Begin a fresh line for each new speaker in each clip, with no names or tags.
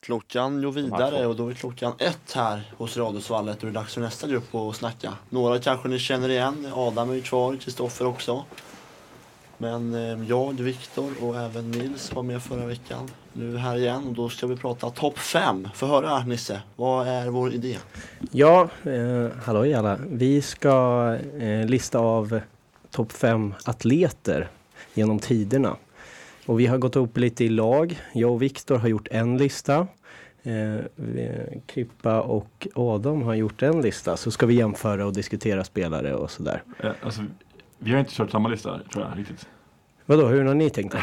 Klockan går vidare och då är klockan ett här hos Radiosvallet och det är dags för nästa grupp att snacka. Några kanske ni känner igen, Adam är ju kvar, Kristoffer också. Men eh, jag, Viktor och även Nils var med förra veckan. Nu är vi här igen och då ska vi prata topp 5. Få höra Nisse, vad är vår idé?
Ja, eh, halloj alla. Vi ska eh, lista av topp fem atleter genom tiderna. Och vi har gått upp lite i lag. Jag och Viktor har gjort en lista. Eh, vi- Krippa och Adam har gjort en lista. Så ska vi jämföra och diskutera spelare och sådär.
Eh, Alltså, vi har inte kört samma lista tror jag riktigt.
Vadå, hur har ni tänkt? då?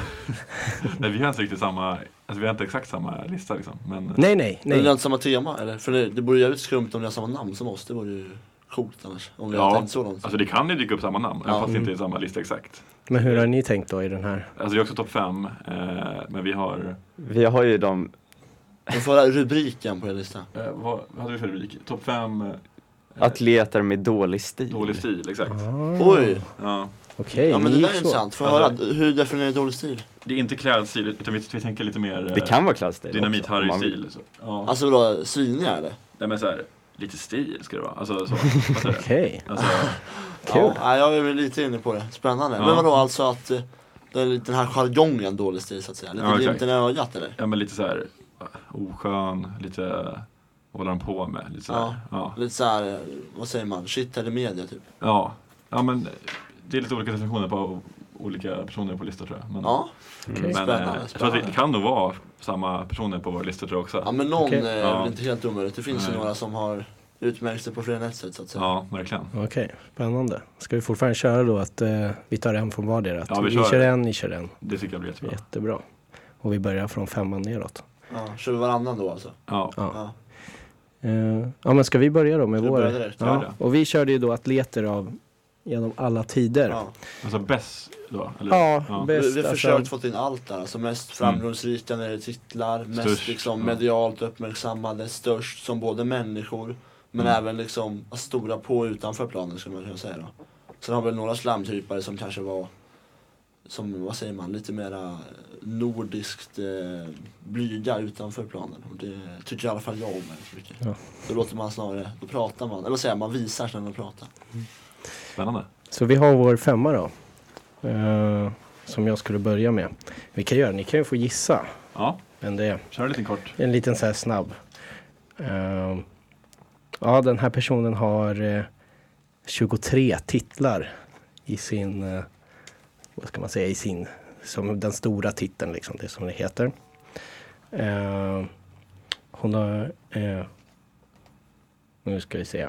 Nej, vi har inte riktigt samma, alltså vi har inte exakt samma lista liksom. Men
Nej, nej,
Nej. Är det
nej.
inte samma tema eller? För det, det vore jävligt skumt om ni har samma namn som oss, det vore ju coolt annars. Om vi har
Ja.
tänkt så långt.
alltså det kan ju dyka upp samma namn, även
Ja.
fast det inte är samma lista exakt.
Men hur har ni tänkt då i den här?
Alltså det är också topp fem, eh, men vi har,
Vi har ju de,
Men få höra rubriken på er lista.
eh, vad vad hade vi för rubrik? Topp fem eh,
atleter med dålig stil.
dålig stil, exakt.
Oj!
Ja.
Okej,
Ja men
ni
det där
gick
är
så.
intressant. Får jag höra,
Alltså-
hur definierar du dålig stil?
Det är inte klädstil, utan vi, vi tänker lite mer eh,
Det kan vara klassstil. också, om man vill.
dynamit-Harry-stil. så. Ja.
Alltså vadå, sviniga eller?
Nej men såhär, lite stil ska det vara. Alltså så, vad säger du?
Okej,
Alltså,
Kul.
Ja, jag är väl lite inne på det. Spännande.
Ja.
Men vadå alltså att eh, den, den här jargongen dålig stil så att säga? Lite
Ja, exakt.
glimten i ögat eller?
ja men lite såhär oskön, lite, vad håller han på med? Lite sådär.
Ja.
Ja.
Lite såhär, eh, vad säger man, shit eller media typ?
Ja, ja men det är lite olika definitioner på olika personer på listor tror jag. Men,
Ja,
men
Spännande,
eh, jag tror att vi, det kan nog vara samma personer på våra listor tror jag också.
ja men någon
Okej.
eh, är
Ja.
väl inte helt omöjligt. Det finns ju
Nej.
några som har utmärkt sig på fler än ett sätt så att säga.
Ja, verkligen.
okej. Spännande. Ska vi fortfarande köra då att eh, vi tar en från vardera? Att
Ja, vi
vi
kör.
kör en, ni kör en.
Det tycker jag blir jättebra.
Jättebra. Och vi börjar från femman neråt.
Ja, kör vi varannan då alltså?
Ja,
Ja.
Ja.
Eh, ja men ska vi börja då med
Ska du
vår?
börja direkt?
Gör
Ja.
det.
Och vi körde ju då atleter av genom alla tider. Ja,
Ja.
alltså bäst då? Eller?
Ja, bäst.
Vi, vi har
alltså-
försökt få in allt där, alltså mest framgångsrika när det gäller titlar, mest
Störst,
liksom
ja.
medialt uppmärksammade, störst som både människor men även liksom stora på utanför planen skulle man kunna säga då. Sen har vi några slamkrypare som kanske var, som vad säger man, lite mera eh, nordiskt eh, blyga utanför planen. Och det tycker i alla fall jag om väldigt mycket.
Ja.
Då låter man snarare, då pratar man, eller vad säger jag, man visar snarare än att prata.
Spännande.
Så vi har vår femma då. Eh, som jag skulle börja med. Vi kan göra, ni kan ju få gissa.
Ja,
Men det är
kör en liten kort.
en liten så här snabb. Eh, ja den här personen har eh, 23 titlar i sin, eh, vad ska man säga, i sin, som den stora titeln liksom, det som det heter. Eh, hon har, eh, nu ska vi se.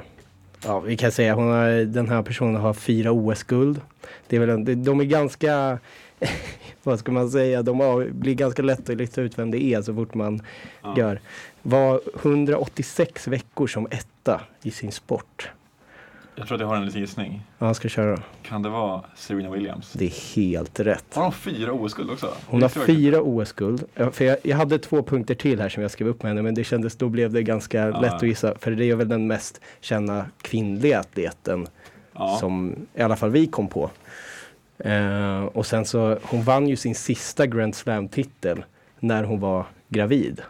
Ja, vi kan säga hon har, den här personen har fyra OS-guld. Det är väl en, det- de är ganska, vad ska man säga, de har, blir ganska lätt att lista ut vem det är så fort man gör. Var 186 veckor som etta i sin sport.
Jag tror att jag har en liten gissning.
Ja, ska jag köra då?
Kan det vara Serena Williams?
Det är helt rätt.
Har hon fyra OS-guld också?
Hon
Det typ
har
tror jag inte.
fyra OS-guld. Ja, För jag, jag hade två punkter till här som jag skrev upp med henne, men det kändes, då blev det ganska lätt att gissa. För det är väl den mest kända kvinnliga atleten
Ja.
som i alla fall vi kom på. Eh, och sen så, hon vann ju sin sista Grand Slam-titel när hon var gravid.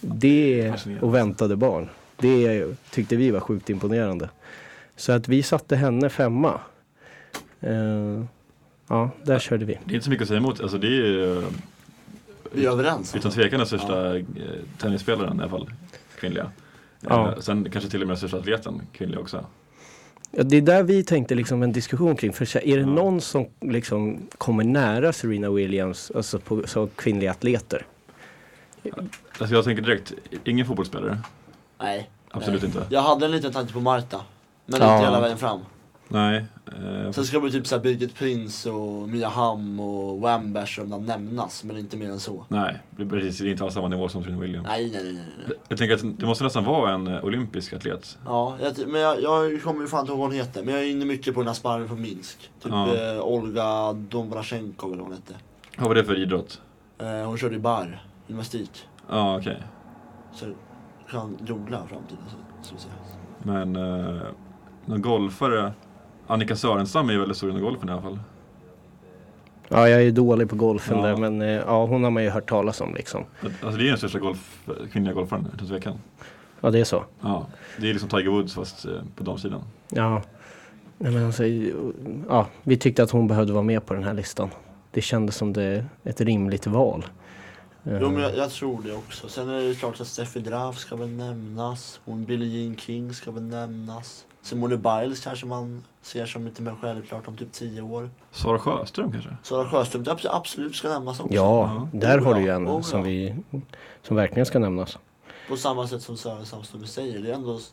Det
Fascinerande.
och väntade barn. Det tyckte vi var sjukt imponerande. Så att vi satte henne femma. Eh, ja, där körde vi.
Det är inte så mycket att säga emot. Alltså det är ju eh,
Vi är överens.
utan tvekan den största eh, tennisspelaren i alla fall, kvinnliga.
Ja.
Eh, Sen kanske till och med den största atleten, kvinnlig också.
Ja, det är där vi tänkte liksom en diskussion kring. För så här, är det någon som liksom kommer nära Serena Williams, alltså på, som kvinnliga atleter?
Alltså jag tänker direkt, ingen fotbollsspelare.
Nej.
Absolut
Nej.
inte.
Jag hade en liten tanke på Marta. Men
Ja.
inte hela vägen fram.
Nej. Eh,
Sen ska det bli typ såhär Birgit Prins och Mia Hamm och Wambash om de nämnas, men inte mer än så.
nej, det är precis. Det är inte alls samma nivå som Serena Williams.
Nej, nej, nej, nej. nej.
Jag tänker att det måste nästan vara en eh, olympisk atlet.
Ja, jag, ty- men jag, jag kommer ju fan inte ihåg vad hon heter, men jag är inne mycket på den här sparren från Minsk. Typ
Ja.
eh, Olga Dombrasjenko eller vad hon hette.
Vad var det för idrott?
Eh, hon körde i bar, gymnastik.
Ja, okej.
Så kan googla framtiden så, så att säga.
Men eh, någon golfare. Annika Sörenstam är ju väldigt stor inom golfen i alla fall.
Ja, jag är ju dålig på golfen
Ja.
där, men eh, ja, hon har man ju hört talas om liksom.
Alltså det är den största golf, kvinnliga golfaren utan tvekan.
Ja, det är så.
Ja, det är liksom Tiger Woods fast eh, på damsidan.
Ja. Nej, men alltså, ja, vi tyckte att hon behövde vara med på den här listan. Det kändes som det, ett rimligt val. Eh,
Jo men jag, jag tror det också. Sen är det ju klart att Steffi Graf ska väl nämnas. Hon Billie Jean King ska väl nämnas. Simone Biles kanske man ser som lite mer självklart om typ 10 år.
Sara Sjöström kanske?
Sara Sjöström abs- absolut ska nämnas också.
Ja,
Ja.
där
Oh,
har du
ja.
ju en
Oh,
som,
ja.
vi, som verkligen ska nämnas.
På samma sätt som Sören Samstorp säger. Det är ändå s-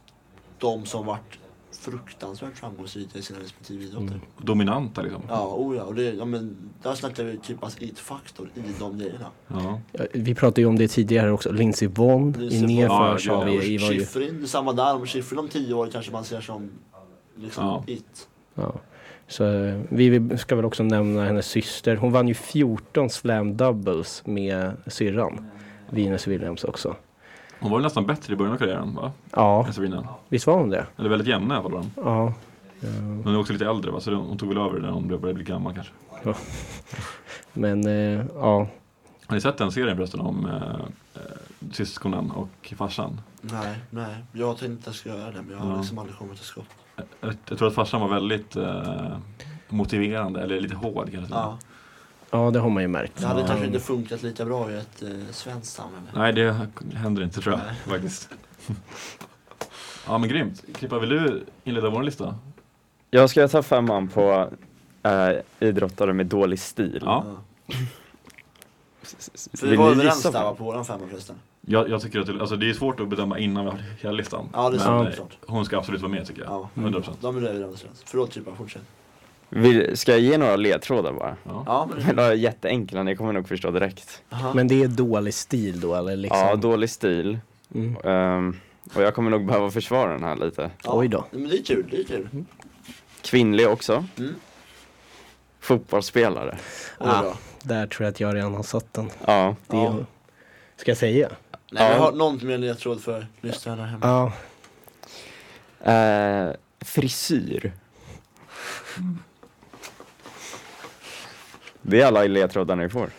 de som varit fruktansvärt framgångsrika i sina respektive idrotter.
Mm.
Dominanta liksom.
Ja, oh ja. Och det, ja men, där snackar vi typas it-faktor i de grejerna.
Ja.
Ja, Vi pratade ju om det tidigare också. Lindsey Vonn
Lindsey
i
Vonn.
Ja,
nedförs
gud,
har vi. var ju,
Schifrin, samma där. Om Schifrin om 10 år kanske man ser som liksom
Ja.
it.
ja. Så eh, vi vill- ska väl också nämna hennes syster. Hon vann ju 14 slam doubles med syrran. Venus Williams också.
Hon var väl nästan bättre i början av karriären va?
Ja,
Än Serena.
visst var hon det?
Eller väldigt jämna i alla fall var de.
Ja.
Men hon är också lite äldre va? Så hon tog väl över när hon blev- började bli gammal kanske.
Men eh, ja,
Har ni sett den serien förresten om eh, eh, syskonen och farsan?
Nej, nej. Jag tänkte att jag skulle göra det men jag har
Ja.
liksom aldrig kommit till skott.
Eh, Jag, jag tror att farsan var väldigt eh, motiverande eller lite hård kanske.
Ja.
ja, det har man ju märkt.
Det hade
Ja.
kanske inte funkat lika bra i ett eh, svenskt samhälle.
Nej, det händer inte tror jag faktiskt. ja, men grymt. Klippa, vill du inleda vår lista?
Jag ska ta femman på eh, idrottare med dålig stil.
Ja.
S- s-
För vi
vill
var
ni
överens
gissa
där va,
på?
på våran femma förresten.
Jag, jag tycker att det, alltså, det är svårt att bedöma innan vi har hela listan.
Ja, det är
men,
sant,
det är
eh,
sant.
hon ska absolut vara med tycker jag.
Ja.
100%.
De är överens. Förlåt Chippa, fortsätt.
Vill, ska jag ge några ledtrådar bara?
Ja.
Ja, men,
Men de är jätteenkla, ni kommer nog förstå direkt.
aha.
Men det är dålig stil då eller liksom?
Ja, dålig stil.
Mm.
Ehm, och jag kommer nog behöva försvara den här lite.
ja.
Oj då.
Men det är kul, det är kul. Oj
Kvinnlig också.
Mm.
Fotbollsspelare.
Ah.
då.
Där tror jag att jag redan har satt den.
Ja.
Det är,
Ja.
Ska jag säga?
Nej, men
Ja.
jag har någon mer ledtråd för lyssnarna hemma.
Ja.
Eh, frisyr. Det är alla ledtrådar ni får.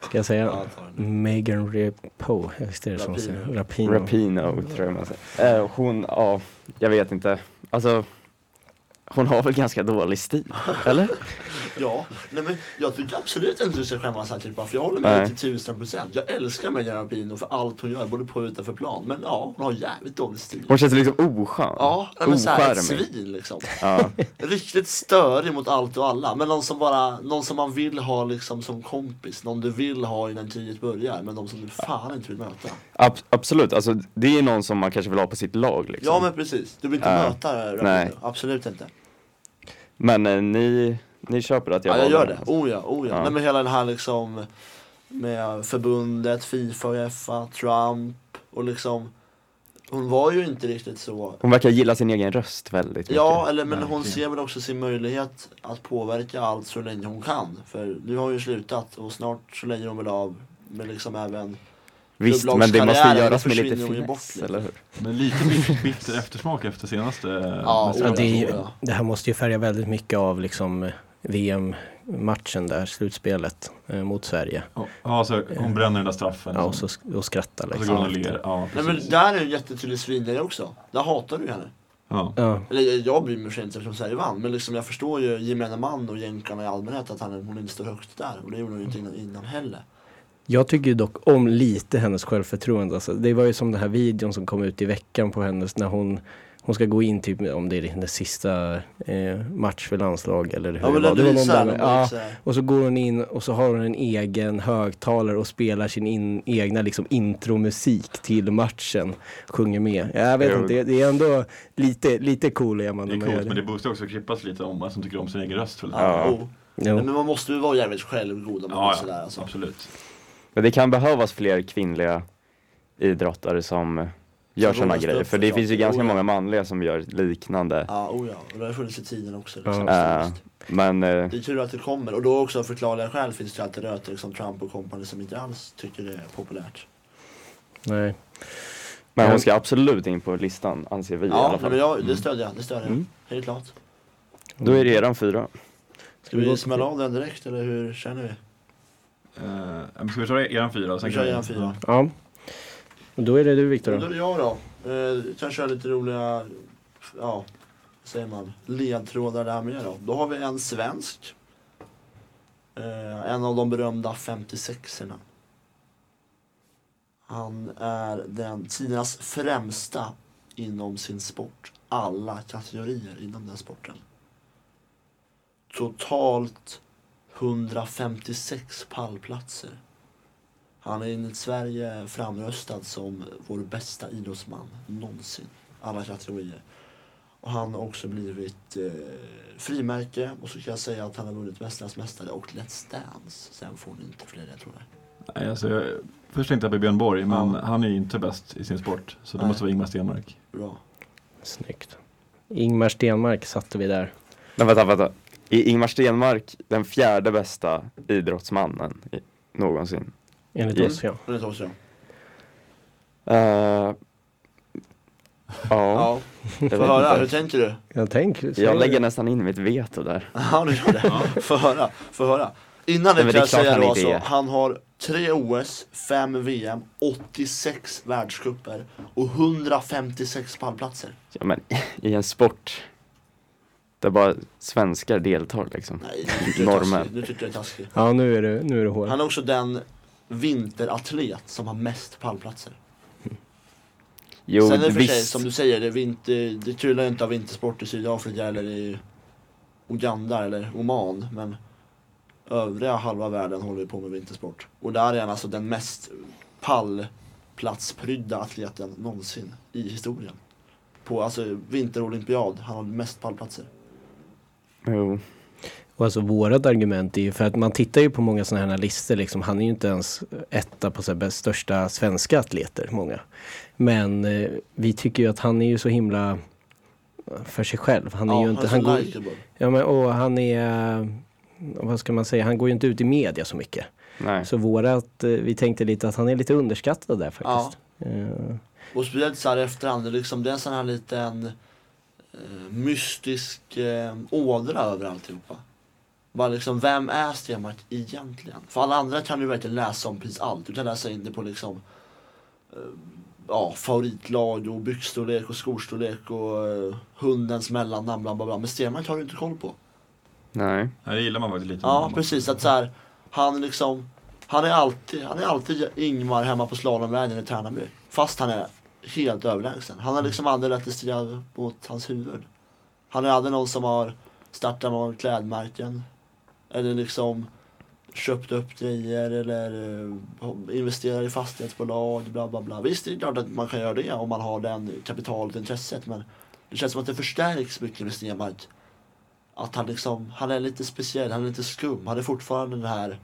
Ska jag säga?
Ja, ta den.
Megan Rapinoe, visst är det som
Rapinoe.
säger? Rapinoe.
Rapino tror jag man säger. Eh, hon, ja, jag vet inte. Alltså, hon har väl ganska dålig stil, eller?
Ja, nej men jag tycker absolut inte du ska skämmas här Chippa, för jag håller med
Nej.
dig till tusen procent. Jag älskar Megan Rapinoe för allt hon gör, både på och utanför plan. Men ja, hon har jävligt dålig stil.
Hon känns liksom oskön.
Ja, nej, men såhär ett
Ocharmig.
svin liksom.
Ja.
Riktigt störig mot allt och alla. Men någon som bara, någon som man vill ha liksom som kompis. Någon du vill ha innan kriget börjar. Men de som du fan inte vill möta.
Ab absolut, alltså det är någon som man kanske vill ha på sitt lag liksom.
Ja men precis, du vill inte
Ja.
möta Rapinoe.
Nej.
Absolut inte.
Men eh, ni, ni köper att jag
ja, jag
valde
gör
den.
det. Oh ja, oh ja.
Ja.
Nej, men hela den här liksom med förbundet, Fifa och Uefa, Trump och liksom. Hon var ju inte riktigt så.
Hon verkar gilla sin egen röst väldigt mycket.
Ja, eller men hon
Verkligen.
ser väl också sin möjlighet att påverka allt så länge hon kan. För nu har hon ju slutat och snart så lägger hon väl av. Men liksom även,
Visst,
Klubblags
men det måste
karriären
göras med lite
försvinner ju bort liksom.
finess,
lite.
eller hur?
Men lite bit- bitter eftersmak efter senaste.
Ja,
nästa-
Ja, det, är
Oh,
ju,
ja.
det här måste ju färga väldigt mycket av liksom VM-matchen där, slutspelet eh, mot Sverige.
ja, så hon bränner den där straffen.
Ja, och, så, sk- och skratta
och så går
liksom.
hon och ler. Ja,
nej men
precis.
där är ju en jättetydlig svinare också. Där hatar du henne.
Ja.
Ja,
Eller jag- jag bryr mig sig inte eftersom Sverige vann. Men liksom jag förstår ju gemene man och jänkarna i allmänhet att han, hon inte står högt där. Och det gjorde hon ju inte
Mm.
innan, innan heller.
jag tycker ju dock om lite hennes självförtroende. Alltså, det var ju som den här videon som kom ut i veckan på hennes när hon hon ska gå in typ om det är hennes sista eh, match för landslag eller hur
Ja men
det var.
den
Det var någon
visar,
där-
den
ja,
visar.
Och så går hon in och så har hon en egen högtalare och spelar sin in, egna liksom intromusik till matchen. Sjunger med. Jag vet
Jo.
inte, det- det är ändå lite, lite cool är man
Det är
när man
coolt,
gör
men det boostar också Krippas lite om att hon tycker om sin egen röst. väldigt mycket.
Ja.
Ja.
jo. Nej,
Jo.
men man måste ju vara jävligt självgod om man
Ja,
är sådär
ja,
alltså.
absolut.
Men det kan behövas fler kvinnliga idrottare som gör
Som
sådana
vågar stå
grejer.
upp
För
för
det
saker,
finns ju
jo,
ganska
ja.
många manliga som gör liknande.
Ja, oh ja. Och det har funnits i tiden också. Liksom.
Ja.
Just.
Men eh,
Det är tur att det kommer. Och då också av förklarliga skäl finns det ju alltid röter som Trump och kompani som inte alls tycker det är populärt.
Nej.
Men
Ja.
hon ska absolut in på listan, anser vi i alla
Ja,
fall.
nej, men jag, det stödjer jag. Det stödjer jag.
Mm.
Helt klart.
Då är det eran fyra.
Ska vi smälla av den direkt eller hur känner vi?
Eh, men ska vi köra eran fyra? och sen
Vi kör
kan
igen fyra.
Ja. Och då är det du Viktor.
Då är
då.
det jag då. Eh, kan köra lite roliga, ja, vad säger man, ledtrådar där med då. Då har vi en svensk. Eh, en av de berömda 56orna. Han är den tidernas främsta inom sin sport. Alla kategorier inom den sporten. Totalt 156 pallplatser. Han är enligt Sverige framröstad som vår bästa idrottsman någonsin. Alla kategorier. Och han har också blivit eh, frimärke och så kan jag säga att han har vunnit Mästarnas Mästare och Let's Dance. Sen får ni inte fler ledtrådar.
Nej, alltså, jag, först tänkte jag på Björn Borg, men
Ja.
han är ju inte bäst i sin sport. Så det
Nej.
måste vara Ingmar Stenmark.
Bra.
Snyggt. Ingmar Stenmark satte vi där.
Men vänta, vänta. Är Ingmar Stenmark den fjärde bästa idrottsmannen i, någonsin?
Enligt
Mm.
oss ja.
Och det tar oss jag.
Eh, ja,
Ja,
jag vet
få höra. Hur
inte.
tänker du?
Jag tänker.
Jag lägger nästan in mitt veto där.
Ja, du gör det. Få höra. Få höra. Innan det kan
men det är
jag
klart
säga
han
då
inte
alltså,
är.
han har tre OS, fem VM, 86 världscuper och 156 pallplatser.
Ja, men i en sport där bara svenskar deltar liksom.
Nej, nu tyckte jag är
Norrmän.
taskig. Nu tyckte jag är taskig.
Ja nu är du, nu är du hård.
Han är också den vinteratlet som har mest pallplatser.
Jo,
Sen är det för sig,
visst.
som du säger, det, är vinter, det kryllar ju inte av vintersport i Sydafrika eller i Uganda eller Oman. Men övriga halva världen håller ju på med vintersport. Och där är han alltså den mest pallplatsprydda atleten någonsin i historien. På alltså vinterolympiad, han har mest pallplatser.
Jo.
Och alltså vårat argument är ju för att man tittar ju på många sådana här listor liksom. Han är ju inte ens etta på så här, bäst- största svenska atleter, många. Men eh, vi tycker ju att han är ju så himla för sig själv. Han är ju inte, han
han
går,
är så likeable.
ja, men, och han är, eh, vad ska man säga, han går ju inte ut i media så mycket.
Nej.
Så vårat, eh, vi tänkte lite att han är lite underskattad där faktiskt. Eh,
Och speciellt såhär efterhand, det är liksom, det är en sån här liten eh, mystisk eh, ådra över alltihopa. Bara liksom, vem är Stenmark egentligen? För alla andra kan du verkligen läsa om precis allt. Du kan läsa in det på liksom eh, Ja, favoritlag och byxstorlek och skostorlek och eh, hundens mellannamn bla bla bla. Men Stenmark har du inte koll på.
Nej.
Nej, det gillar man faktiskt lite.
Ja, precis. Att så här, han liksom, han är alltid, han är alltid Ingmar hemma på slalomvägen i Tärnaby. Fast han är helt överlägsen. Han har liksom aldrig lätt att styra mot hans huvud. Han är aldrig någon som har startat med klädmärken. Eller liksom köpt upp grejer eller eh, investerar i fastighetsbolag, bla bla bla. Visst, det är klart att man kan göra det om man har den kapitalet och intresset. Men det känns som att det förstärks mycket med Stenmark att han liksom, han är lite speciell, han är lite skum, han är fortfarande den här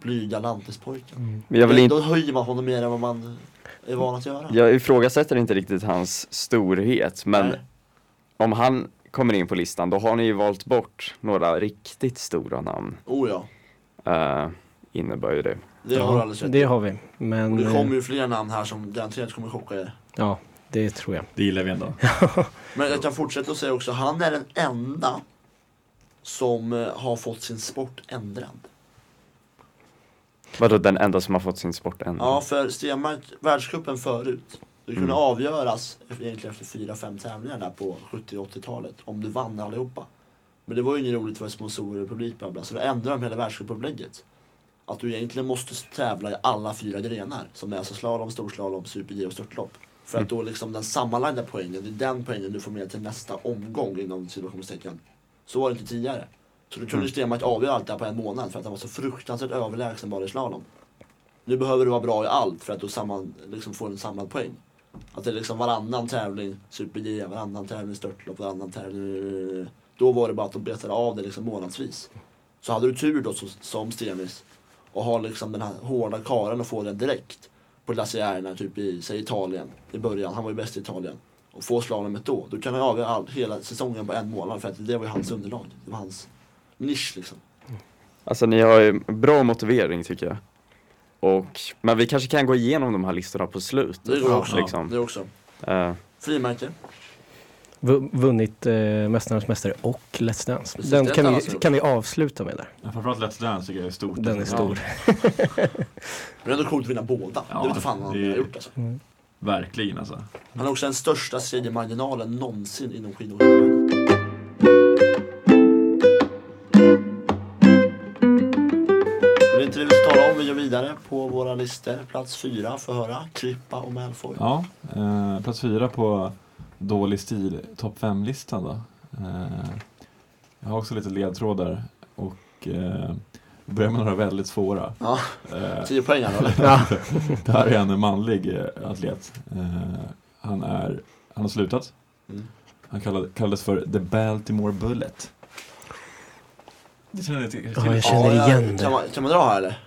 blyga lantispojken.
Men jag vill inte
Då höjer man honom mer än vad man är van att göra.
Jag ifrågasätter inte riktigt hans storhet, men
Nej.
om han kommer in på listan, då har ni ju valt bort några riktigt stora namn.
Oh ja,
Uh, innebär ju det.
det har du alldeles rätt
det
i.
har vi. Men
Och det
eh,
kommer ju fler namn här som garanterat kommer chocka er.
ja, det tror jag.
Det gillar vi ändå.
Men jag kan fortsätta och säga också, han är den enda som eh, har fått sin sport ändrad.
Vadå den enda som har fått sin sport än?
Ja, för Stenmark, världscupen förut, det kunde avgöras egentligen efter fyra, fem tävlingar där på 70 och 80-talet om du vann allihopa. Men det var ju inget roligt för sponsorer och publik bla bla, så då ändrade de hela världscupupplägget. Att du egentligen måste tävla i alla fyra grenar, som är alltså slalom, storslalom, super-G och störtlopp. För att då liksom den sammanlagda poängen, det är den poängen du får med till nästa omgång inom situationstecken. Så var det inte tidigare. Så då kunde Stenmark avgöra allt det här på en månad för att han var så fruktansvärt överlägsen bara i slalom. Nu behöver du vara bra i allt för att du samman, liksom får en samlad poäng. Att det är liksom varannan tävling super-G, varannan tävling störtlopp, varannan tävling... Då var det bara att de betade av det liksom månadsvis. Så hade du tur då som, som Stenis och har liksom den här hårda karen och får den direkt på glaciärerna typ i, säg Italien i början, han var ju bäst i Italien. Och får slalomet då, då kan han avgöra all, hela säsongen på en månad för att det var ju hans underlag. Det var hans nisch liksom.
Alltså ni har ju bra motivering tycker jag. Och, men vi kanske kan gå igenom de här listorna på slutet.
Det går också.
Liksom.
Det också.
Eh,
Frimärke.
vu- vunnit eh, Mästarnas Mästare och Let's Dance.
Precis,
den
det är
kan
ett
vi,
annat roligt.
kan vi avsluta med där.
Men Framförallt Let's Dance tycker jag är stort.
Den är stor.
Ja,
Men ändå coolt att vinna båda.
Ja,
det vet fan vad han
det-
har gjort alltså.
verkligen alltså.
Han har också den största segermarginalen någonsin inom skidåkning. Men Det är inte det vi ska tala om. Vi går vidare på våra listor. Plats fyra får höra. Klippa och Malfoy.
Ja, eh, plats fyra på dålig stil, topp fem-listan då. Eh, jag har också lite ledtrådar och eh, börjar med några väldigt svåra.
Ja,
Eh,
tio poäng här då, eller?
det här är en manlig eh, atlet. Eh, han, är, han har slutat.
Mm.
Han kallades, kallades för The Baltimore Bullet. Det känner ni till?
Ja, jag
till-
känner
ja, eh,
igen det.
Kan man, kan man dra här eller?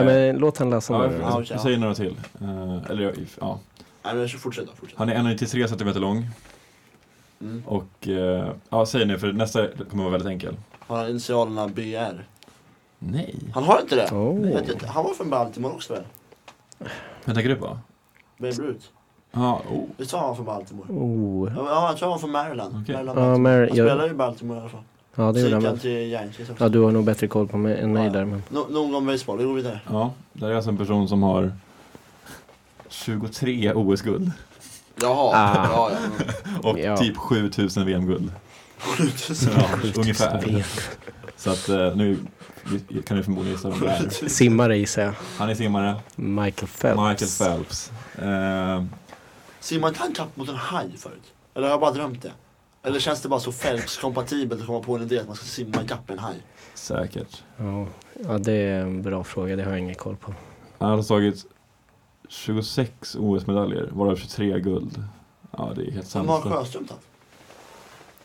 Eh,
Nej men låt han läsa
Ja,
den.
jag,
Ja, okej,
jag säger några till. Eh, eller jag, ja.
Nej men fortsätt då. Fortsätt.
Han är 1,93 cm lång.
Mm.
Och eh, ja, säg nu för nästa kommer vara väldigt enkel.
Har han initialerna BR?
Nej.
Han har inte det? Jag
Oh.
vet inte. Han var från Baltimore också väl?
Vad tänker du på?
Babe Ruth.
Ja, oh.
Visst var han från Baltimore?
Oh.
Ja, jag tror han var från Maryland.
Okej.
Maryland
Ja,
Baltimore.
Mary,
han
jag,
spelar ju i Baltimore i alla fall.
ja, det
Så
gjorde
gick
han
han
väl.
till Yankees också.
Ja, du har nog bättre koll på mig än mig
Ja.
där. Men...
Nå- Nog om baseball, vi går vidare.
ja, där är alltså en person som har 23 OS-guld
Jaha,
Ah.
ja, ja.
och
Ja.
typ 7000 VM-guld.
Mm.
Ja, ungefär. Så att eh, nu kan ni förmodligen gissa vem det är.
Simmare gissar jag.
Han är simmare,
Michael Phelps.
Michael Phelps. Eh,
Simmar inte han kapp mot en haj förut? Eller har jag bara drömt det? Eller känns det bara så Phelps-kompatibelt att komma på en idé att man ska simma ikapp en haj?
säkert.
Ja. ja, det är en bra fråga. Det har jag ingen koll på.
Han har tagit 26 OS-medaljer, varav 23 guld. Ja, det är helt
Som har
sanslöst.
Sjöström tagit?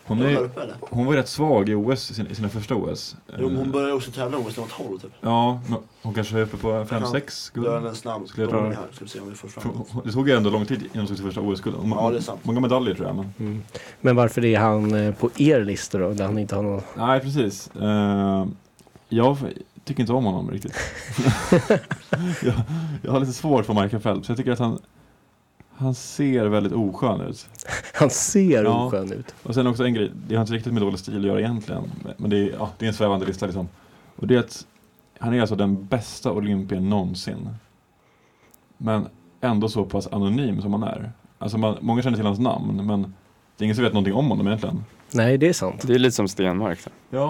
Hon,
Är hon
är-
där uppe eller?
hon var ju rätt svag i OS, i sina, i sina första OS.
Jo, men
Eh,
hon började också tävla OS när hon var 12 typ.
Ja, men hon kanske är uppe på 5-6
Då är
guld.
den en snabb
Skulle jag
domning
dra-
här, ska vi se om vi får
För
fram.
hon- Det tog ju ändå lång tid innan hon tog sitt första OS-guld. Hon-
Ja, det är sant.
Många medaljer tror jag. Men...
Mm. Men varför är han eh, på er lista då? Där han inte har någon...
Nej, precis. Eh, jag f- tycker inte om honom riktigt. jag, jag har lite svårt för Michael Phelps. Jag tycker att han, han ser väldigt oskön ut.
Han ser
Ja.
oskön ut.
Och sen också en grej, det har inte riktigt med dålig stil att göra egentligen. Men det är, ja, det är en svävande lista liksom. Och det är att han är alltså den bästa olympien någonsin. Men ändå så pass anonym som han är. Alltså man, många känner till hans namn men det är ingen som vet någonting om honom egentligen.
Nej, det är sant.
Det är lite som Stenmark. Då.
Ja,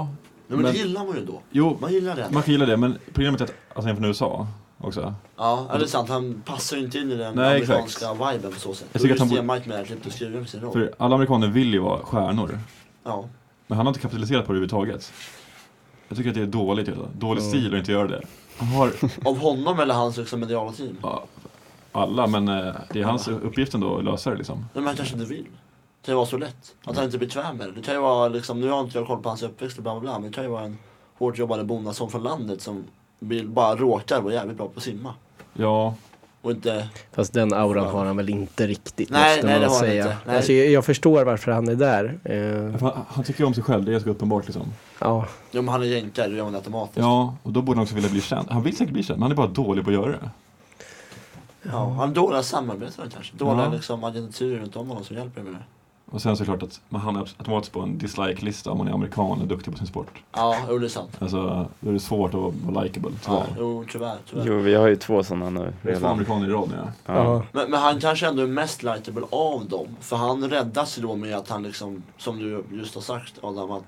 Nej, men det
Men-
gillar man ju då.
jo,
Man gillar det.
man kan gilla det men problemet är att alltså, han är från USA också.
Ja, ja, det är sant. Han passar ju inte in i den
Nej, exakt.
amerikanska viben på så sätt. Jag
Jag
tycker
tycker att han
just
borde-
Stenmark med klippt och skriven för sin roll.
För alla amerikaner vill ju vara stjärnor.
Ja.
Men han har inte kapitaliserat på det överhuvudtaget. Jag tycker att det är dåligt. Alltså. Dålig
Ja.
stil att inte göra det. Han har
Av honom eller hans liksom mediala team?
Ja, alla, men eh, det är hans uppgift ändå att lösa det liksom.
Men han kanske inte vill. Det kan ju vara så lätt. Att han inte är bekväm med det. Det kan ju vara liksom, nu har inte jag koll på hans uppväxt och bla bla bla. Men det kan ju vara en hårt jobbande bondeson från landet som vill bara råkar vara jävligt bra på att simma.
Ja,
Och inte...
Fast den auran har han väl inte riktigt
Nej,
måste
nej,
man
det har han
säga.
inte. Nej.
Alltså, jag, jag förstår varför han är där. Eh,
han, han tycker ju om sig själv, det är ganska uppenbart liksom.
ja.
Jo men han är jänkare, det gör man automatiskt.
Ja, och då borde han också vilja bli känd. Han vill säkert bli känd, men han är bara dålig på att göra det.
Ja, Han har dåliga samarbetare kanske. Dåliga
Ja.
liksom agenturer runt om honom som hjälper med det.
Och sen såklart att man hamnar automatiskt på en dislike-lista om man är amerikan och duktig på sin sport.
Ja, jo det är sant.
Alltså, då är det svårt att vara likeable,
Ja,
tyvärr.
jo tyvärr, tyvärr.
Jo, vi har ju två sådana nu
Det är två
redan.
amerikaner i rad nu ja.
Ja.
Ja.
Men, men han kanske ändå är mest likeable av dem. För han räddas ju då med att han liksom, som du just har sagt Adam, att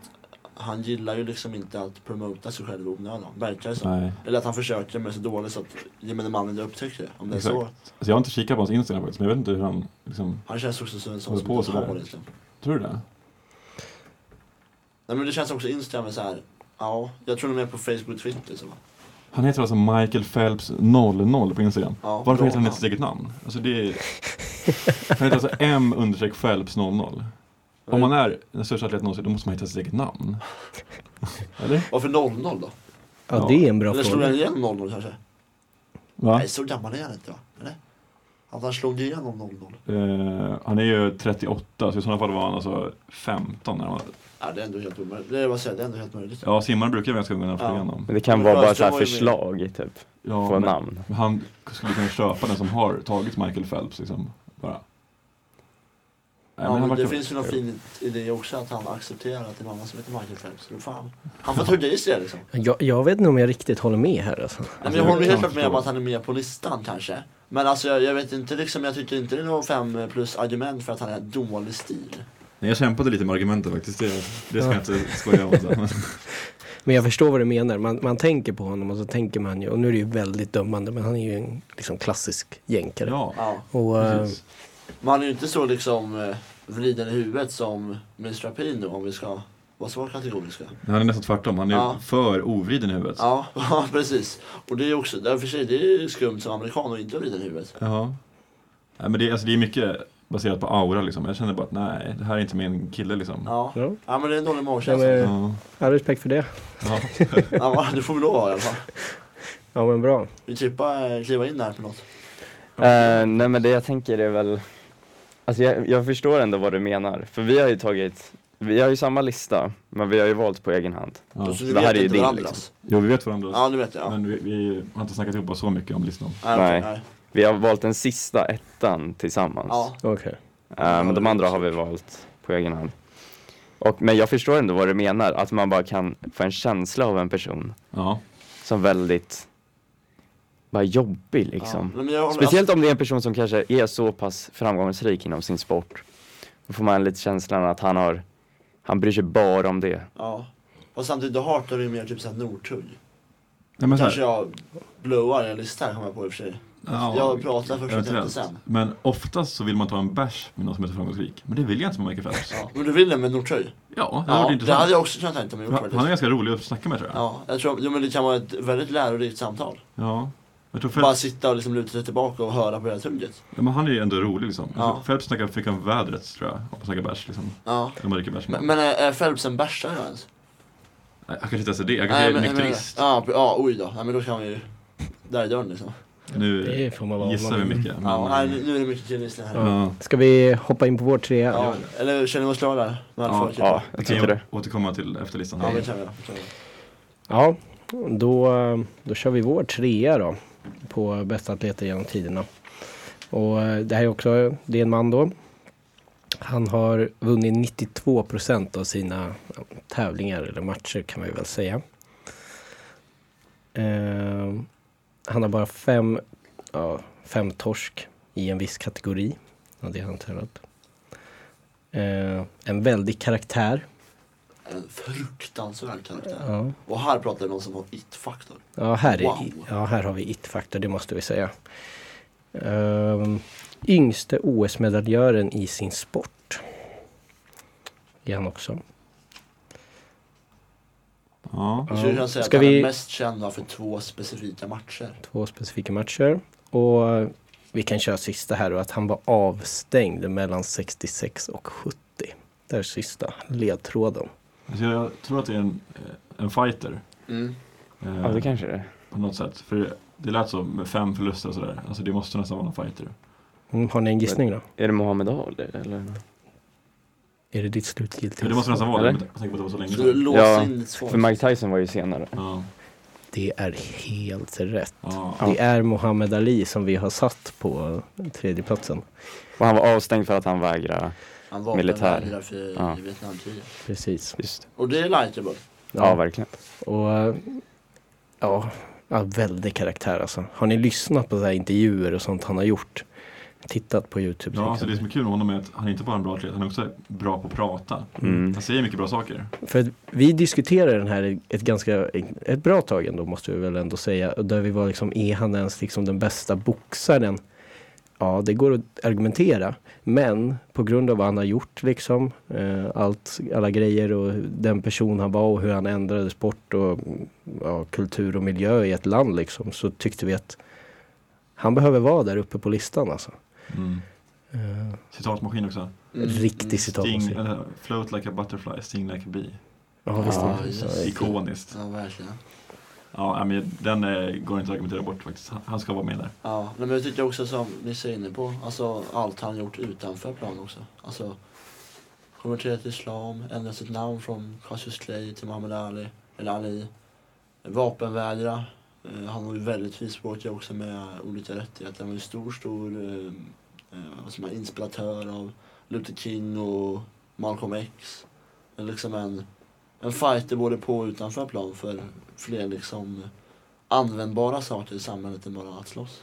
han gillar ju liksom inte att promota sig själv i onödan, verkar det som.
Nej.
Eller att han försöker men är så dålig så att gemene man inte upptäcker det. Om det är så.
Alltså, jag har inte kikat på hans Instagram faktiskt, men jag vet inte hur han liksom...
Han känns också som en sån
Håller
som
på
inte
sådär.
har liksom.
Tror du det?
Nej men det känns också Instagram är såhär, ja, jag tror nog mer på Facebook och Twitter så. va?
Han heter alltså Michael Phelps 00 på Instagram.
Ja, bra
Varför heter han
namn.
inte sitt eget namn? Alltså det är... Han heter alltså M understreck Phelps 00. Om man är den största atleten någonsin, då måste man hitta sitt eget namn. Eller?
Varför 00 då?
ja, det är en bra
Eller slog
fråga.
han igen 00 kanske?
Va?
Nej så gammal är han inte va? Eller? Att han slog igenom 00?
Eh, han är ju 38, så i sådana fall var han alltså 15 när han var...
Ja det är ändå helt omöjligt. Det är, vad jag säger, det är ändå helt möjligt.
Ja, simmare brukar vara ganska unga när de
Ja.
får igenom.
Men det kan
Men
vara bara så
Sjöström
här
var ju med.
förslag typ,
Ja,
på
men-
namn.
men han skulle kunna köpa den som har tagit Michael Phelps liksom. Bara. men
Ja,
han
men
verkar-
det finns ju någon fin i det också att han accepterar att det är någon annan som heter Michael Phelps. Men fan. Han får tur i det liksom.
Jag, jag vet inte om jag riktigt håller med här alltså.
Nej, men
jag
jag håller
kan
helt klart med om
förstå.
att han är med på listan kanske. Men alltså jag, jag vet inte liksom, jag tycker inte det är något fem plus argument för att han är dålig stil.
Nej, jag kämpade lite med argumenten faktiskt. Det, det ska jag inte skoja om. så. Men,
Men jag förstår vad du menar. Man, man tänker på honom och så tänker man ju, och nu är det ju väldigt dömande, men han är ju en liksom, klassisk jänkare.
Ja,
Ja.
och, eh,
precis.
Men han är ju inte så liksom eh, vriden i huvudet som Mr. Pino om vi ska vara så kategoriska.
han är nästan tvärtom. Han är
Ja.
för ovriden i huvudet.
Ja, ja precis. Och det är ju också, där för sig, det är ju skumt som amerikan och inte ha vriden i huvudet.
Jaha.
Nej, men det, är- alltså, det är mycket baserat på aura liksom. Jag känner bara att nej, det här är inte min kille liksom.
Ja.
ja.
ja, men det är en dålig
Ja,
magkänsla.
men,
Ja.
all respekt för det.
Ja.
Ja, det får vi lov att ha i alla fall.
Ja men bra.
Vi klippa, eh, kliva in där på något.
Eh, nej men det jag tänker är väl, alltså jag, jag förstår ändå vad du menar, för vi har ju tagit, vi har ju samma lista, men vi har ju valt på egen hand.
Ja.
Så du
Det här
vet
är ju
inte
din,
varandras.
liksom.
Jo, vi vet varandra.
Ja, det vet jag. Ja.
Men vi, vi har inte snackat ihop oss så mycket om listan.
Nej, okej,
Nej. Vi har valt den sista ettan tillsammans,
Ja.
Okej.
Eh, men de andra har vi valt på egen hand. Och, men jag förstår ändå vad du menar, att man bara kan få en känsla av en person
Ja.
som väldigt, bara jobbig
Ja.
liksom.
Nej, men jag håller-
Speciellt om det är en person som kanske är så pass framgångsrik inom sin sport. Då får man lite känslan att han har, han bryr sig bara om det.
Ja. Och samtidigt, The Heart har ju mer typ såhär Northug.
Nej, men så här-
Kanske jag blowar en lista här kommer jag på i och för sig.
Ja,
jag pratar först och tänkte
eventuellt.
sen.
Men oftast så vill man ta en bärs med någon som är så framgångsrik. Men det vill jag inte med Michael Phelps.
Ja. Men du vill det med Northug?
Ja, det hade varit
Ja, det hade
intressant.
jag också kunnat tänka mig gjort
Han- Han är
faktiskt.
ganska rolig att snacka med tror jag.
Ja, jag tror, jo, men det kan vara ett väldigt lärorikt samtal.
Ja. Jag tror
Bara
Phelps,
sitta och liksom luta sig tillbaka och höra på det här tugget.
ja, men han är ju ändå rolig liksom.
Ja.
Ja. Phelps snackar, fick han vädret tror jag, om att snacka bärs liksom.
Ja.
Eller om man dricker bärs.
Men,
Nej,
men är är Phelps en bärsare då ens?
Han kanske inte ens är det, han kanske är
men, men,
nykterist.
ja, ja, oj då. Nej, men då kan vi ju... Där är dörren liksom.
Nu
Det får man vara
gissar vi
honom.
mycket. Men, eh,
Ja,
Mm.
nej, nu- nu är det mycket killgissning här. Ja.
ja.
Ska vi hoppa in på vår trea?
Eller känner vi oss klara där? Med
Ja,
ja,
Ja,
ja.
jag
Kan
tycker
jag
det.
återkomma till efterlistan?
ja, men det kan vi göra. Det kan vi göra.
Ja, då, då kör vi vår trea då på bästa atleter genom tiderna. Och eh, det här är också, det är en man då. Han har vunnit 92 procent av sina ja, tävlingar eller matcher kan man ju väl säga. Eh, han har bara fem, ja, fem torsk i en viss kategori. Ja, det har han tävlat. Eh, en väldig karaktär.
En fruktansvärd karaktär.
Ja.
Och här pratar vi om någon som har it-faktor.
Ja, här, är,
Wow.
ja, här har vi it-faktor, det måste vi säga. Ehm, yngste OS-medaljören i sin sport. Är han också.
Ja.
Vi skulle kunna säga
Ska
att han
vi-
är mest känd för två specifika matcher.
Två specifika matcher. Och eh, vi kan köra sista här då, att han var avstängd mellan 66 och 70. Där är sista ledtråden.
Alltså, jag tror att det är en, eh, en fighter.
Mm.
Eh,
Ja, det kanske det är.
På något sätt. För det lät så med fem förluster och sådär. Alltså det måste nästan vara en fighter.
Mm, har ni en gissning då?
Är det Mohammed Ali eller?
Är det ditt slutgiltiga?
Men det måste nästan vara det.
Eller?
med tanke på att det var så länge
Så du
sedan.
låser
Ja,
in ditt svar.
För Mike Tyson var ju senare.
Ja.
Det är helt rätt.
Ja.
Ja.
Det är Muhammad Ali som vi har satt på tredjeplatsen.
Och han var avstängd för att han vägrade.
Han var
militär.
militär. För
Ja.
i Vietnamkriget.
Precis.
Just det.
Och det är likeable.
Ja, verkligen.
Och eh, ja, ja, väldig karaktär alltså. Har ni lyssnat på så här intervjuer och sånt han har gjort? Tittat på Youtube? till
Ja, alltså
exempel?
det som är kul med honom är att han är inte bara en bra atlet, han är också bra på att prata.
Mm.
Han säger mycket bra saker.
För att vi diskuterade den här ett ganska, ett bra tag ändå måste vi väl ändå säga. Och Där vi var liksom, är han ens liksom den bästa boxaren? Ja, det går att argumentera. Men på grund av vad han har gjort liksom, eh, allt, alla grejer och den person han var och hur han ändrade sport och mm, ja, kultur och miljö i ett land liksom, så tyckte vi att han behöver vara där uppe på listan alltså. Eh,
Mm. Citatmaskin också.
Mm.
Riktig
Sting,
citatmaskin.
eller, float like a butterfly, sting like a bee.
Ja, visst.
Ja,
är det så.
just det.
Ikoniskt.
Mm. Ja, verkligen.
Ja, men den eh, går inte att argumentera bort faktiskt. Han- Han ska vara med där.
Ja, nej, men jag tycker också som ni är inne på, alltså allt han gjort utanför plan också. Alltså, konverterat till islam, ändrat sitt namn från Cassius Clay till Muhammad Ali, eller Ali. Vapenvägra. Eh, Han var ju väldigt frispråkig också med olika rättigheter. Han var ju stor, stor eh, eh, som är inspiratör av Luther King och Malcolm X. Eh, Liksom en, en fighter både på och utanför plan för fler liksom användbara saker i samhället än bara att slåss.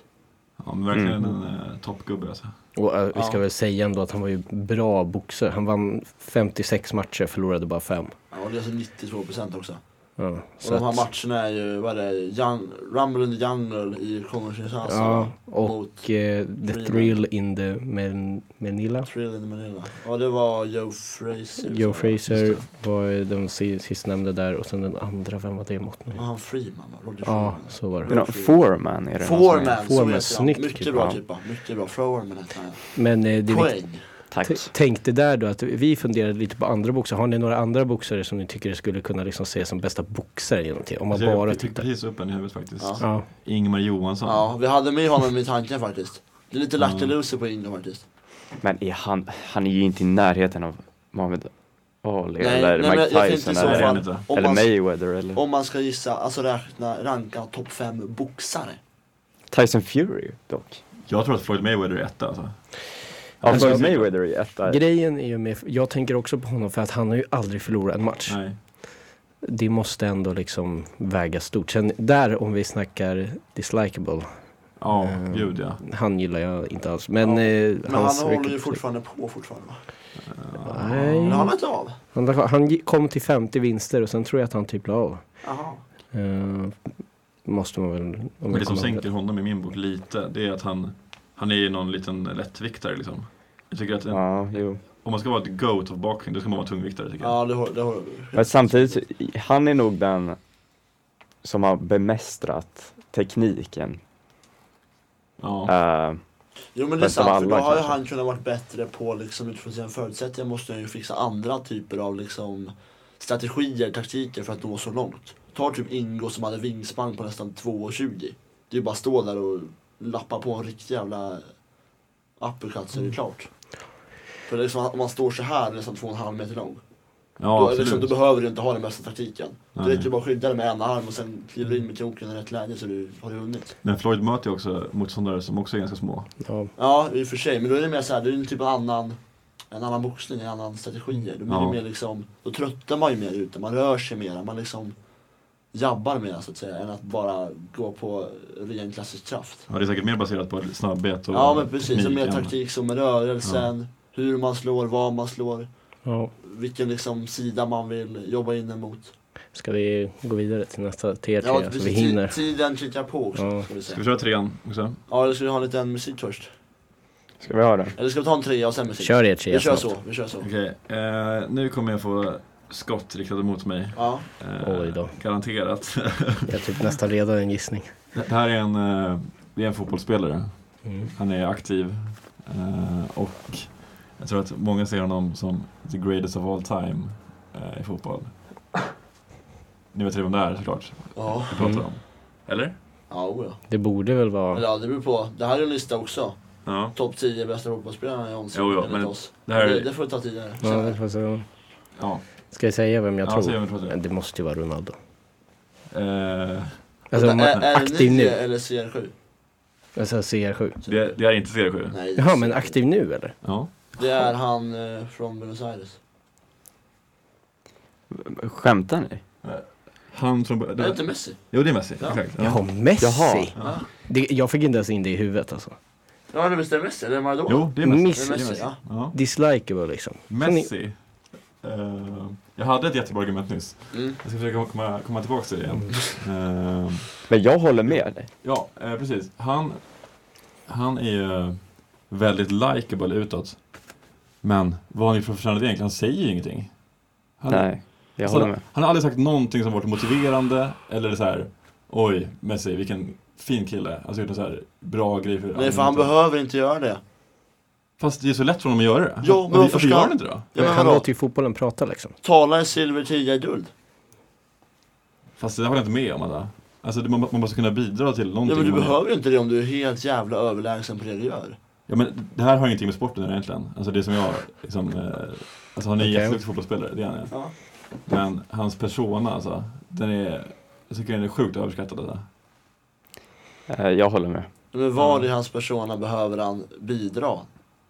Ja, men verkligen
Mm.
en eh, toppgubbe alltså.
Och eh, vi ska
Ja.
väl säga ändå att han var ju bra boxare. Han vann 56 matcher, förlorade bara 5.
Ja, och det är alltså 92 procent också.
Ja,
Och
så
de här
att,
matcherna är ju, vad är det, Young, Rumble in the Jungle i Kongo-Kinshasa.
ja, och
mot
eh, The
Freeman.
Thrill in the Man- Manila.
Thrill in the Manila. Ja, det var Joe Frazier.
Joe Fraser
Just
var ju den si- sistnämnda där och sen den andra, vem var det mot nu?
Ja, han Freeman va? Roger
Ja,
Freeman.
så var det.
No, Foreman är det någon som heter.
Foreman, så
Foreman,
heter han.
snyggt
Mycket
typ,
bra
ja.
typ va? Mycket bra. Foreman heter han.
Men eh, det är viktigt.
Poäng.
Tack.
T- Tänk det där då, att vi funderade lite på andra boxare. Har ni några andra boxare som ni tycker skulle kunna liksom se som bästa boxare genom tiden? Om man
Alltså, jag-
bara
jag fick
tittar.
precis upp en i huvudet faktiskt.
Ja.
Ja,
Ingmar Johansson.
Ja, vi hade med honom i tanken faktiskt. Det är lite
Mm.
Lucky Loser på Ingo faktiskt.
Men är han, han är ju inte i närheten av Muhammad Ali
Nej,
eller
nej, men jag- jag
Mike
tänkte
Tyson
i så
Nej, det är
eller,
fall-
han inte.
Om
eller
man,
Mayweather eller
om man ska gissa, alltså räkna, ranka topp 5 boxare.
Tyson Fury dock.
Jag tror att Floyd Mayweather är etta alltså.
Ja,
Alltså,
Floyd Mayweather är ju etta.
Grejen är ju med, jag tänker också på honom för att han har ju aldrig förlorat en match.
Nej.
Det måste ändå liksom väga stort. Sen där om vi snackar dislikable,
Ja,
Eh,
gud ja.
han gillar jag inte alls. Men,
Ja,
eh,
Men
hans-
han håller ju
vilket-
fortfarande på fortfarande va?
Nej.
Men han
Mm.
har inte av.
Han, han gi- kom till 50 vinster och sen tror jag att han typ la av.
Jaha.
Eh, måste man väl... Om jag
Men det som
kommer ihåg
sänker honom i min bok lite, det är att han, han är ju någon liten lättviktare liksom. Jag tycker att en,
Ja, jo.
om man ska vara ett GOAT av boxning, då ska man vara tungviktare tycker jag.
Ja, det håller, det håller.
Men samtidigt, han är nog den som har bemästrat tekniken.
Ja.
Eh,
Jo men det är
Bäst av
sant, för då
alla,
har ju
kanske.
han kunnat varit bättre på liksom utifrån sina förutsättningar måste han ju fixa andra typer av liksom strategier, taktiker för att nå så långt. Ta typ Ingo som hade vingspann på nästan 2,20. Det är ju bara att stå där och lappa på en riktig jävla uppercut så är det
Mm.
klart. För liksom, om man står så här nästan 2,5 meter lång.
ja,
då, liksom,
absolut.
då behöver du inte ha den bästa taktiken.
Nej.
Det räcker ju bara att skydda dig med ena arm och sen kliver du in med kroken i rätt läge så du har du vunnit.
Men Floyd möter ju också motståndare som också är ganska små.
Ja,
Ja, i och för sig. Men då är det mer såhär, det är en typ en annan, en annan boxning, en annan strategi. Då blir
Ja.
det mer liksom, då tröttar man ju mer ute, man rör sig mer, man liksom jabbar mer så att säga, än att bara gå på ren klassisk kraft.
Ja, det är säkert mer baserat på snabbhet och
Ja men precis, och
teknik
mer
än-
taktik som med rörelsen, hur man slår, vad man slår,
ja.
vilken liksom sida man vill jobba in emot.
Ska vi gå vidare till nästa TR3
Ja,
så
precis,
vi hinner?
Ti- tiden tittar på också,
Ja.
ska vi
Ska
säga.
vi köra trean också?
Ja, eller ska vi ha en liten musik först?
ska vi ha den?
Eller ska vi ta en trea och sen musik?
Kör E ert tjejer
vi kör
snabbt.
så, vi kör så.
Okej, eh, nu kommer jag få skott riktade mot mig.
Ja,
Eh,
Oj då.
Garanterat.
Jag har typ nästan redan en gissning.
det här är en, eh, det är en fotbollsspelare.
Mm.
Han är aktiv. Eh, och jag tror att många ser honom som the greatest of all time eh, i fotboll. Ni vet redan vem det är såklart.
ja,
Vi pratar
Mm.
om. Eller?
ja, oh, ja.
Det borde väl
Ja.
vara...
Eller ja, det beror på. Det här är en lista också.
Ja.
Topp 10 bästa fotbollsspelarna någonsin
Jo, jo,
enligt
men
oss.
Det här
det,
är...
det får vi ta tidigare.
Ja, det får se.
Ja.
Ska jag säga vem jag
ja,
tror?
säg vem du tror att det
Men Det måste ju vara Ronaldo.
är. Eh,
Alltså om man
är,
är
är det
aktiv
9
nu.
eller CR7?
Alltså CR7.
det, det är inte CR7.
Nej,
Jaha,
CR7.
men aktiv nu eller?
Ja.
Det är han eh, från Buenos Aires.
Skämtar ni?
Han från...
Det är
Det,
inte Messi.
jo, det är Messi.
Ja.
Exakt.
Jaha, Messi!
Jaha.
Ja,
Det, jag fick inte ens in det i huvudet alltså.
ja det visst är det Messi. Eller Maradona?
Jo, det är Messi.
Det är
Miss,
Messi, ja.
Ja.
dislikable liksom.
Messi. Eh, jag hade ett jättebra argument nyss.
Mm.
Jag ska försöka komma, komma tillbaka till det igen. Eh,
Men jag håller med dig.
ja, eh, precis. Han, han är ju väldigt likeable utåt. Men vad han är professionell egentligen, han säger ju ingenting. Han,
Nej, jag
alltså,
håller med.
han har aldrig sagt någonting som varit motiverande eller så här. Oj, Messi, vilken fin kille. Alltså gjort en så här bra grej för
Nej, för han behöver inte göra det.
Fast det är så lätt för honom att göra det.
Ja, men
Och vi-
varför
varför
ska
gör
han-
han inte då?
Ja,
Men
men
han
vadå?
låter ju fotbollen prata liksom.
Talar i silver, tiga i guld.
Fast det håller jag inte med om alla. Alltså det- man, man måste kunna bidra till
Ja,
någonting.
men du
man gör.
behöver ju inte det om du är helt jävla överlägsen på det du gör.
Ja, men det här har ingenting med sporten att göra egentligen. Alltså det som jag liksom, eh, alltså han är en
Okej.
jätteduktig fotbollsspelare, det är han ju.
Ja.
Men hans persona alltså, den är, jag tycker den är sjukt överskattad alltså.
Eh, Jag håller med.
Men vad
Ja.
i hans persona behöver han bidra?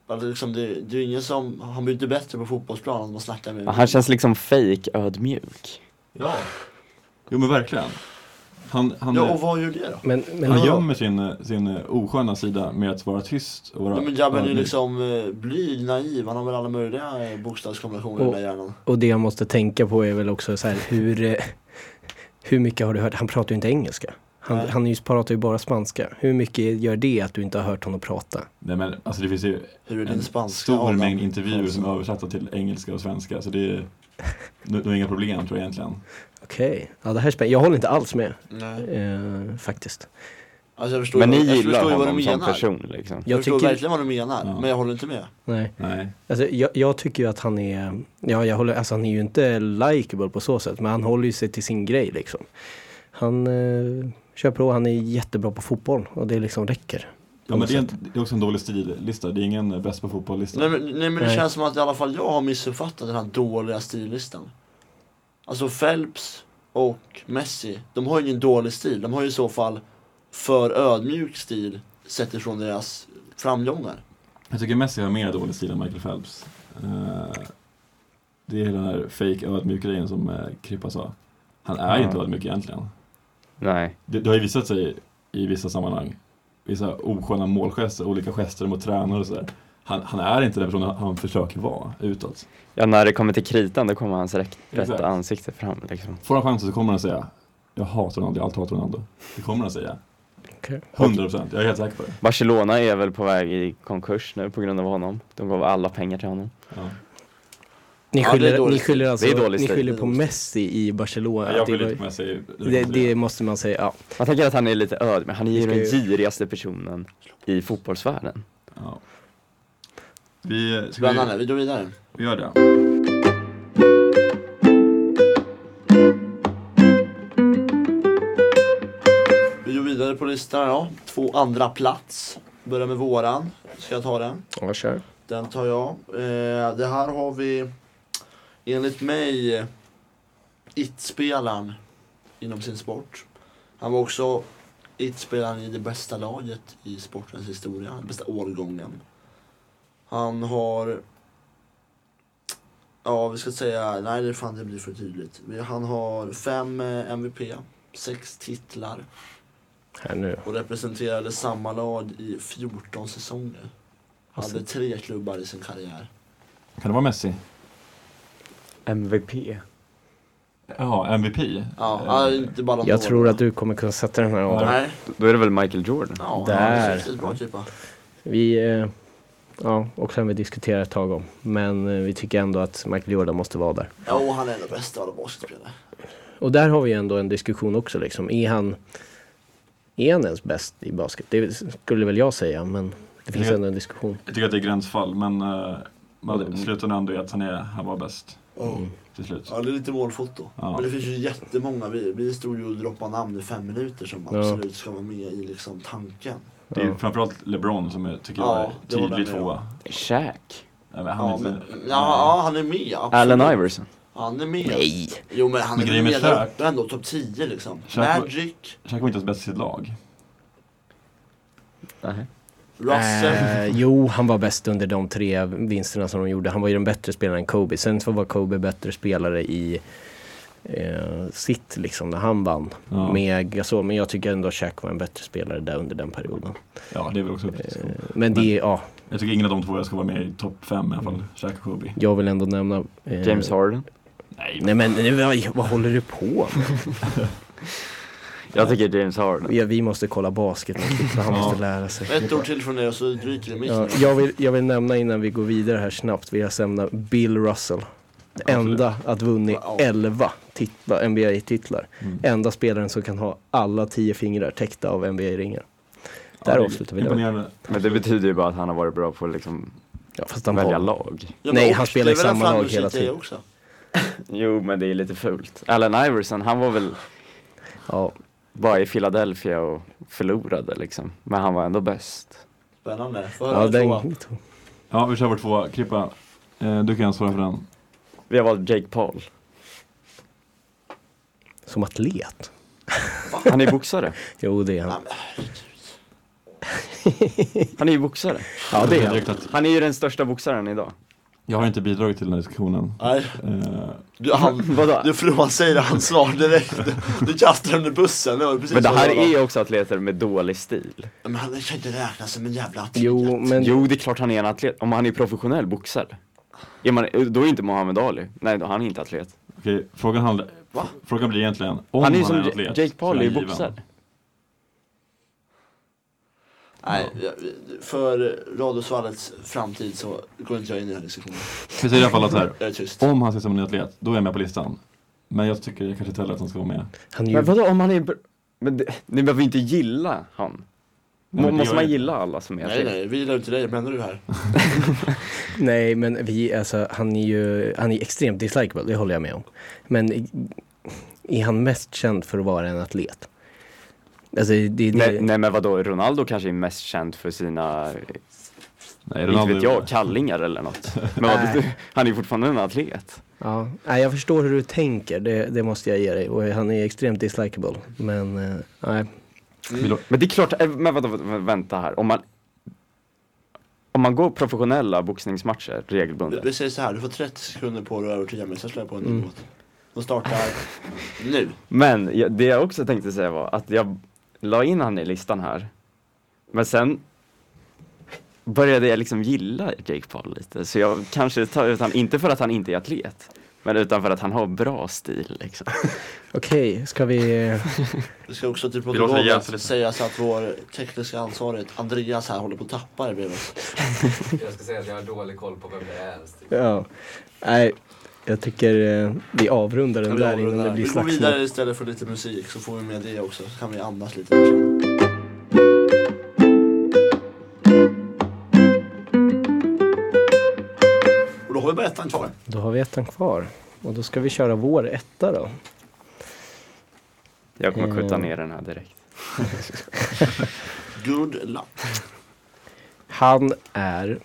Alltså, liksom, det, det är ju ingen som, han blir inte bättre på fotbollsplanen om man snackar med
Han känns liksom fake ödmjuk.
Ja. Jo men verkligen. Han, han,
Ja, och vad gör det då?
Men, men
han
ja.
gömmer sin, eh, sin eh, osköna sida med att vara tyst och vara
Ja, men Jabben är ju
ödmjuk.
liksom eh, blyg, naiv, han har väl alla möjliga eh, bokstavskombinationer i den där hjärnan.
Och det jag måste tänka på är väl också så här hur, eh, hur mycket har du hört? Han pratar ju inte engelska. Han,
Nej.
han just pratar ju bara spanska. Hur mycket gör det att du inte har hört honom prata?
Nej men alltså det finns ju
Hur är
en
din spanska?
stor
Adam?
mängd intervjuer som är
Alltså,
översatta till engelska och svenska så det är det är inga problem tror jag egentligen.
Okej, ja, det här är spännande. Jag håller inte alls med
Nej.
eh, faktiskt.
Alltså jag förstår
Men ni
ju- jag förstår
gillar
ju vad du
honom som
menar.
person liksom.
Jag,
Jag
förstår
tycker-
verkligen vad du menar,
Ja.
men jag håller inte med.
Nej.
Nej.
Alltså, jag, jag tycker ju att han är, ja jag håller, alltså han är ju inte likeable på så sätt men han håller ju sig till sin grej liksom. Han eh, kör på, han är jättebra på fotboll och det liksom räcker.
Ja, men det, är en, det är också en dålig stillista, det är ingen eh, bäst på fotboll-lista.
Nej men, nej, men det
Nej.
känns som att i alla fall jag har missuppfattat den här dåliga stillistan. Alltså Phelps och Messi, de har ju ingen dålig stil. De har ju i så fall för ödmjuk stil sett ifrån deras framgångar.
Jag tycker Messi har mer dålig stil än Michael Phelps. Eh, det är hela den här fake ödmjuk-grejen som eh, Krippa sa. Han är ju
Ja.
inte ödmjuk egentligen.
Nej.
Det, det har ju visat sig i vissa sammanhang, vissa osköna målgester, olika gester mot tränare och sådär. Han, han är inte den personen han försöker vara utåt.
Ja, när det kommer till kritan då kommer hans rätt,
Exakt.
rätta ansikte fram liksom.
Får han chansen så kommer han säga Jag hatar Ronaldo, jag alltid hatar Ronaldo. Det kommer han säga.
Okej.
100%, jag är helt säker på det.
Barcelona är väl på väg i konkurs nu på grund av honom. De gav alla pengar till honom.
Ja.
Ni
Ja,
skyller,
det är dålig
ni skyller
stil.
alltså,
Det är dålig
ni
stil.
skyller
Det är
på
dålig stil.
Messi i Barcelona.
Jag
Det
skyller
var-
inte på Messi.
det, det måste man säga, ja.
Man tänker att han är lite ödmjuk, han är ju
Vi ska
den
ju-
girigaste personen i fotbollsvärlden.
Ja. Vi, ska vi,
Spännande, vi går vidare.
vi gör det.
Vi går vidare på listan ja. Två andra plats. Börjar med våran. Ska jag ta den?
Ja, kör.
Den tar jag. Eh, det här har vi enligt mig eh, IT-spelaren inom sin sport. Han var också IT-spelaren i det bästa laget i sportens historia, den bästa årgången. Han har... Ja, vi ska säga... Nej, det fan det blir för tydligt. Men Han har fem eh, MVP, sex titlar
Här nu.
och representerade samma lag i 14 säsonger. Hade tre klubbar i sin karriär.
Kan det vara Messi?
MVP.
Ja, MVP.
Ja,
Eh,
ja, inte bara någon
Jag
dålig.
tror att du kommer kunna sätta den här Adam.
Nej,
Då är det väl Michael Jordan?
ja,
Där.
Där. Riktigt bra typ.
Vi, eh, ja, och sen vi diskuterar ett tag om. Men eh, vi tycker ändå att Michael Jordan måste vara där.
Ja, och han är den bästa av alla basketspelare.
Och där har vi ju ändå en diskussion också liksom. Är han, är han ens bäst i basket? Det skulle väl jag säga men det finns
Ja.
ändå en diskussion.
Jag tycker att det är gränsfall, men eh, men
Mm.
slutändan ändå är att han, är, han var bäst
Mm.
till slut.
Ja, det är lite målfoto.
Ja.
Men det finns ju jättemånga. Vi, vi stod ju och droppade namn i fem minuter som
Ja.
absolut ska vara med i liksom tanken.
Det är
Ja.
framförallt LeBron som jag tycker
Ja,
är
det var
tydlig
den jag-
tvåa.
Shaq?
Nej, men han är
Ja,
inte-
men, ja, ja, han är med. Absolut.
Allen Iverson?
Han är med. Nej. Jo, men han
Men
är
grejen med
med där
Shaq-
uppe ändå. Topp 10 liksom.
Shaq var-
Magic,
Shaq var inte ens bäst i sitt lag.
Nej.
Russell.
Eh, jo, han var bäst under de tre vinsterna som de gjorde. Han var ju den bättre spelaren än Kobe. Sen så var Kobe bättre spelare i eh, sitt liksom när han vann
Ja.
med Gasol. Men jag tycker ändå att Shaq var en bättre spelare där under den perioden.
Ja, det är väl också upp till
Eh,
diskussion.
men det, ja,
Jag tycker ingen av de två ska vara med i topp fem i alla
Mm.
fall. Shaq och Kobe.
jag vill ändå nämna eh,
James Harden?
Nej,
Nej men nu, oj, vad håller du på med?
Jag tycker James Harden.
Ja, vi måste kolla basket, han måste lära sig.
Ett ord till från dig och så ryker det mitt.
Ja, jag, vill, jag vill nämna innan vi går vidare här snabbt, vill jag nämna Bill Russell. Det enda att vunnit
Wow.
11 titlar, NBA-titlar.
Mm.
Enda spelaren som kan ha alla tio fingrar täckta av NBA-ringar.
Ja,
Där
det är
avslutar vi det.
Imponerande.
Men det betyder ju bara att han har varit bra på att liksom
Ja, fast han
välja
var,
lag.
Ja, men
Nej,
och
han spelar i
det är väl
samma lag
framgångsrik
hela
det
tiden.
Också.
Jo, men det är lite fult. Allen Iverson, han var väl
ja,
bara i Philadelphia och förlorade liksom. Men han var ändå bäst.
Spännande. Får höra
ja,
det tvåa.
den,
Ja, vi kör vår tvåa. Krippa, eh, du kan svara för den.
Vi har valt Jake Paul.
som atlet.
Han är boxare.
Jo, det är han.
Ja, men herregud.
Han är ju boxare.
Ja, det är han.
direkt att
Han är ju den största boxaren idag.
jag har inte bidragit till den här diskussionen.
Nej,
Eh,
du, han,
Vadå?
du förlorar säger hans svar direkt. Du, du kastar under bussen. Det var precis
Men det
vad
här
jag var.
är ju också atleter med dålig stil.
Men han kan inte räknas som en jävla atlet.
Jo, men
Jo, det är klart han är en atlet. Om han är professionell boxare. Är man, då är inte Muhammad Ali. Nej, då han är inte atlet.
Okej, frågan, handlar,
Va?
frågan blir egentligen om
han är ju
han
som
är atlet.
Jake Paul,
så
är ju
given.
boxare.
Nej, jag- för Radiosvallets framtid så går inte jag in i den här diskussionen.
Vi säger i alla fall att så här,
Jag är tyst.
om han ses som en atlet, då är jag med på listan. Men jag tycker kanske inte heller att han ska vara med.
han är
Men
ju...
vadå om han är... br- Men det, ni behöver inte gilla han.
men det
Må, måste
gör
man
jag.
gilla alla som är
Nej,
atleter?
nej, vi gillar inte dig. Menar du här?
Nej, men vi, alltså, han är ju han är extremt dislikable, det håller jag med om. Men i- är han mest känd för att vara en atlet? Alltså, det, det,
Nej, nej men vadå, Ronaldo kanske är mest känd för sina,
Nej,
inte
Ronaldo-
vet jag, kallingar eller något. Men vad,
Nej.
han är ju fortfarande en atlet.
Ja, nej, jag förstår hur du tänker, det, det måste jag ge dig. Och han är extremt dislikable, men eh, nej.
Men det är klart, eh, men vadå, vadå, vänta här, om man om man går professionella boxningsmatcher
Vi-
regelbundet.
Vi säger så här, du får 30 sekunder på dig att övertyga mig, sen slår jag på en
Mm.
ny låt. De startar nu.
Men jag, det jag också tänkte säga var att jag la in han i listan här. Men sen började jag liksom gilla Jake Paul lite. Så jag kanske tar ut han, inte för att han inte är atlet. Men utan för att han har bra stil liksom.
Okej, ska vi... eh,
Vi ska också till
låter
protokollet
jävligt.
säga så att vår tekniska ansvarig Andreas här håller på att tappa det bredvid oss.
Jag ska säga att jag har dålig koll på vem det är ens.
Ja, nej, jag tycker eh, vi avrundar den
Vi
där
avrundar
innan det
här.
blir
Vi går
slagsmål.
vidare istället för lite musik så får vi med det också, så kan vi andas lite. här sen. Och då har vi bara ettan kvar.
Då har vi ettan kvar. Och då ska vi köra vår etta då.
Jag kommer skjuta
Mm.
ner den här direkt.
Good luck.
Han är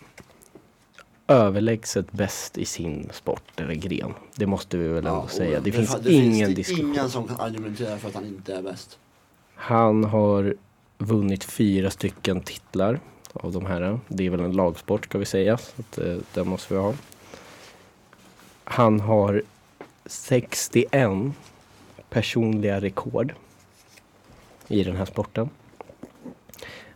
överlägset bäst i sin sport eller gren. Det måste vi väl ändå
Ja, och
säga. Det,
fa-
finns
det
ingen
det
diskussion.
ingen som kan argumentera för att han inte är bäst.
Han har vunnit fyra stycken titlar av de här. Det är väl en lagsport ska vi säga. Så att, eh, den måste vi ha. Han har 61 personliga rekord i den här sporten.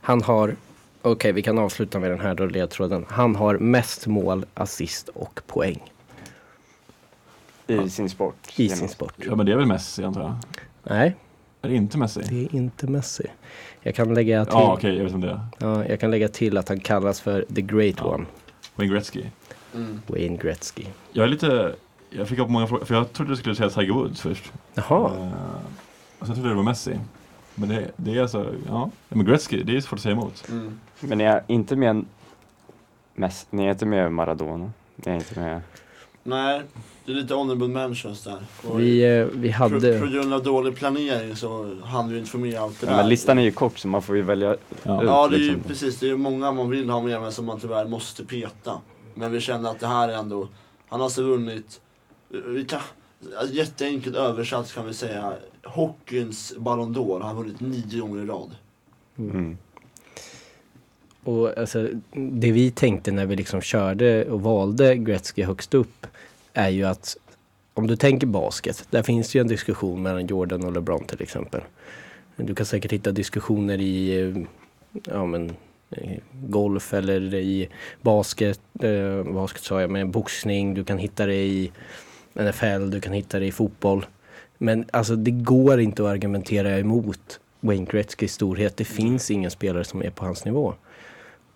Han har, okej vi kan avsluta med den här då ledtråden. Han har mest mål, assist och poäng
I sin sport.
i
genom-
sin sport.
Ja, men det är väl Messi antar jag?
Nej,
Är det inte Messi?
det är inte Messi. Jag kan lägga till,
Ja, okej, jag vet om det är.
ja, jag kan lägga till att han kallas för the great
Ja.
one.
Wayne Gretzky.
Mm.
Wayne Gretzky.
Jag är lite... Jag fick upp många frågor, för jag trodde du skulle säga Tiger Woods först.
Jaha,
Eh, och sen trodde jag det var Messi. Men det, det är alltså, ja. Men Gretzky, det är svårt att säga emot.
Mm.
Men ni är inte med mest, ni är inte med Maradona. Ni är inte med.
Nej, det är lite honorable mentions där. Och
vi, eh, vi
på, på
hade...
grund av dålig planering så hann vi inte få med allt det där.
Men listan är ju kort så man får ju välja.
Ja.
Ja, det är ju
liksom.
precis. Det är ju många man vill ha med men som man tyvärr måste peta. Men vi känner att det här är ändå... Han har alltså vunnit... Vi kan, alltså, jätteenkelt översatt kan vi säga. Hockeyns Ballon d'Or har han vunnit nio gånger i rad.
Mm.
Och alltså, det vi tänkte när vi liksom körde och valde Gretzky högst upp är ju att om du tänker basket, där finns ju en diskussion mellan Jordan och LeBron till exempel. Du kan säkert hitta diskussioner i eh, ja, men, eh, golf eller i basket, eh, basket sa jag, men boxning, du kan hitta det i NFL, du kan hitta det i fotboll. Men alltså det går inte att argumentera emot Wayne Gretzkys storhet. Det finns ingen spelare som är på hans nivå.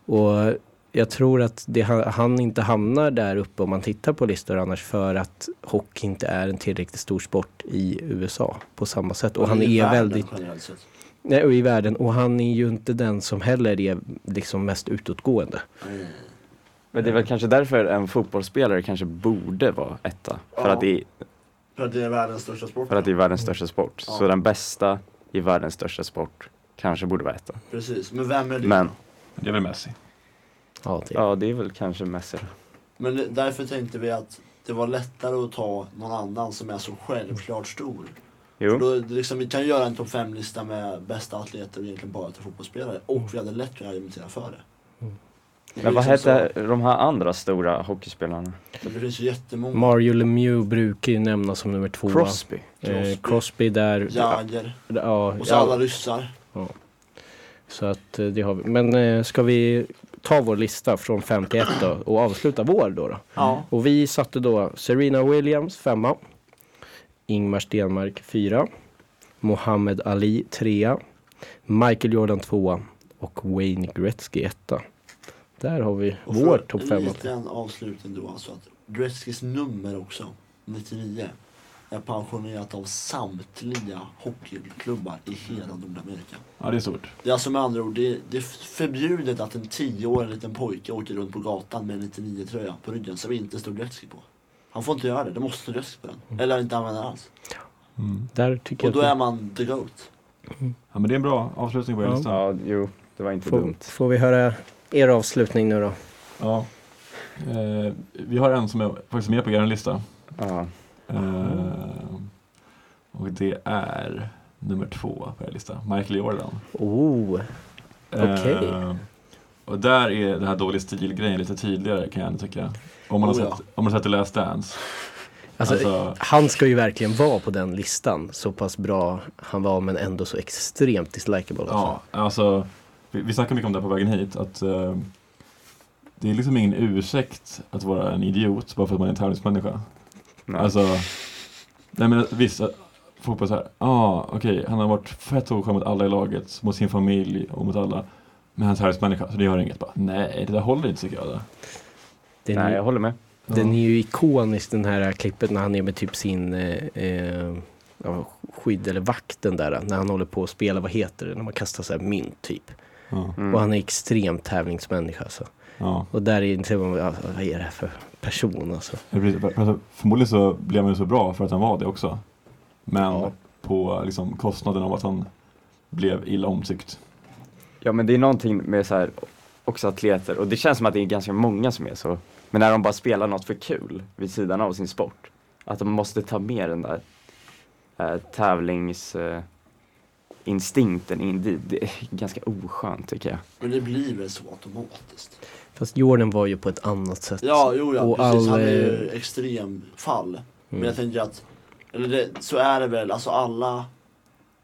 Och jag tror att det, han han inte hamnar där uppe om man tittar på listor annars för att hockey inte är en tillräckligt stor sport i USA på samma sätt. Och han
I
är
världen
väldigt
generellt sett.
Nej, och i världen. Och han är ju inte den som heller är liksom mest utåtgående.
Mm.
Men det är väl kanske därför en fotbollsspelare kanske borde vara etta. För
Ja.
att det är
För att det är världens största sport.
För att det är världens största sport.
Ja.
Så den bästa i världens största sport kanske borde vara etta.
Precis. Men vem är det?
Men,
Det är väl Messi.
Ja,
typ.
det.
ja det är väl kanske Messi.
Men det- därför tänkte vi att det var lättare att ta någon annan som är så självklart stor. För
Jo,
Då, det liksom, vi kan ju göra en topp 5-lista med bästa atleter och egentligen bara till fotbollsspelare. Och vi hade lätt kunnat argumentera för det.
Mm.
Det är
men vad
liksom så-
hette de här andra stora hockeyspelarna?
Det finns ju jättemånga.
Mario Lemieux brukar ju nämnas som nummer två.
Crosby?
Eh,
Crosby.
Crosby där.
Jagr.
ja,
Och så
ja,
alla ryssar.
Så att eh, det har vi. Men eh, ska vi ta vår lista från 51 då och avsluta vår då? då?
Ja.
Och vi satte då Serena Williams femma. Ingmar Stenmark fyra. Mohammed Ali trea. Michael Jordan tvåa. Och Wayne Gretzky etta. Där har vi
Och
vår
för
topp
en
fem.
liten avslutning då alltså att Gretzkys nummer också, 99, är pensionerat av samtliga hockeyklubbar i hela Nordamerika.
Ja, det är stort.
Det är alltså med andra ord, det, det är förbjudet att en 10-årig liten pojke åker runt på gatan med en 99-tröja på ryggen som inte står Gretzky på. Han får inte göra det, det måste stå Gretzky på den. Eller inte använda den alls.
Där tycker
Och då
jag
är
att
man the GOAT.
Ja, men det är en bra avslutning på er
Ja.
lista.
Ja, jo, det var
vi
inte
får,
dumt.
får vi höra er avslutning nu då.
Ja. Eh, vi har en som är faktiskt med på er lista.
Ja.
Eh, och det är nummer två på er lista, Michael Jordan.
Oh, Okej.
Eh, och där är den här dålig stil-grejen lite tydligare kan jag tycka. Om man,
Oh,
har,
ja.
sett, om man har sett The Last Dance.
alltså,
Alltså-
han ska ju verkligen vara på den listan. Så pass bra han var men ändå så extremt dislikable.
Ja, alltså, vi, vi snackade mycket om det här på vägen hit. Att, eh, det är liksom ingen ursäkt att vara en idiot bara för att man är en tävlingsmänniska.
Nej.
Alltså, nej men vissa fotboll så här, ja ah, okej, han har varit fett oskön mot alla i laget, mot sin familj och mot alla. Men han är en tävlingsmänniska, så det gör inget. Bara, nej, det där håller inte tycker jag. Det.
Den,
Nej, jag håller med.
Ja.
den är ju ikonisk den här klippet när han är med typ sin eh, eh, ja, skydd eller vakten där. När han håller på att spela, vad heter det, när man kastar så här mynt typ.
Ja,
Mm.
Och han är extremt tävlingsmänniska alltså.
ja.
Och där är inte, alltså, vad är det här för person alltså.
Ja, precis. För- för- alltså, Förmodligen så blev han ju så bra för att han var det också. Men
Ja.
på liksom, kostnaden av att han blev illa omtyckt.
Ja, men det är någonting med så här, också atleter, och det känns som att det är ganska många som är så. Men när de bara spelar något för kul vid sidan av sin sport, att de måste ta med den där eh, tävlingsinstinkten eh, instinkten in dit, det är ganska oskönt tycker jag.
Men det blir väl så automatiskt.
Fast Jordan var ju på ett annat sätt.
Ja, jo ja,
Och
precis.
all,
Han är
eh, Mm.
ju extremfall. Men jag tänker att, eller det, så är det väl, alltså alla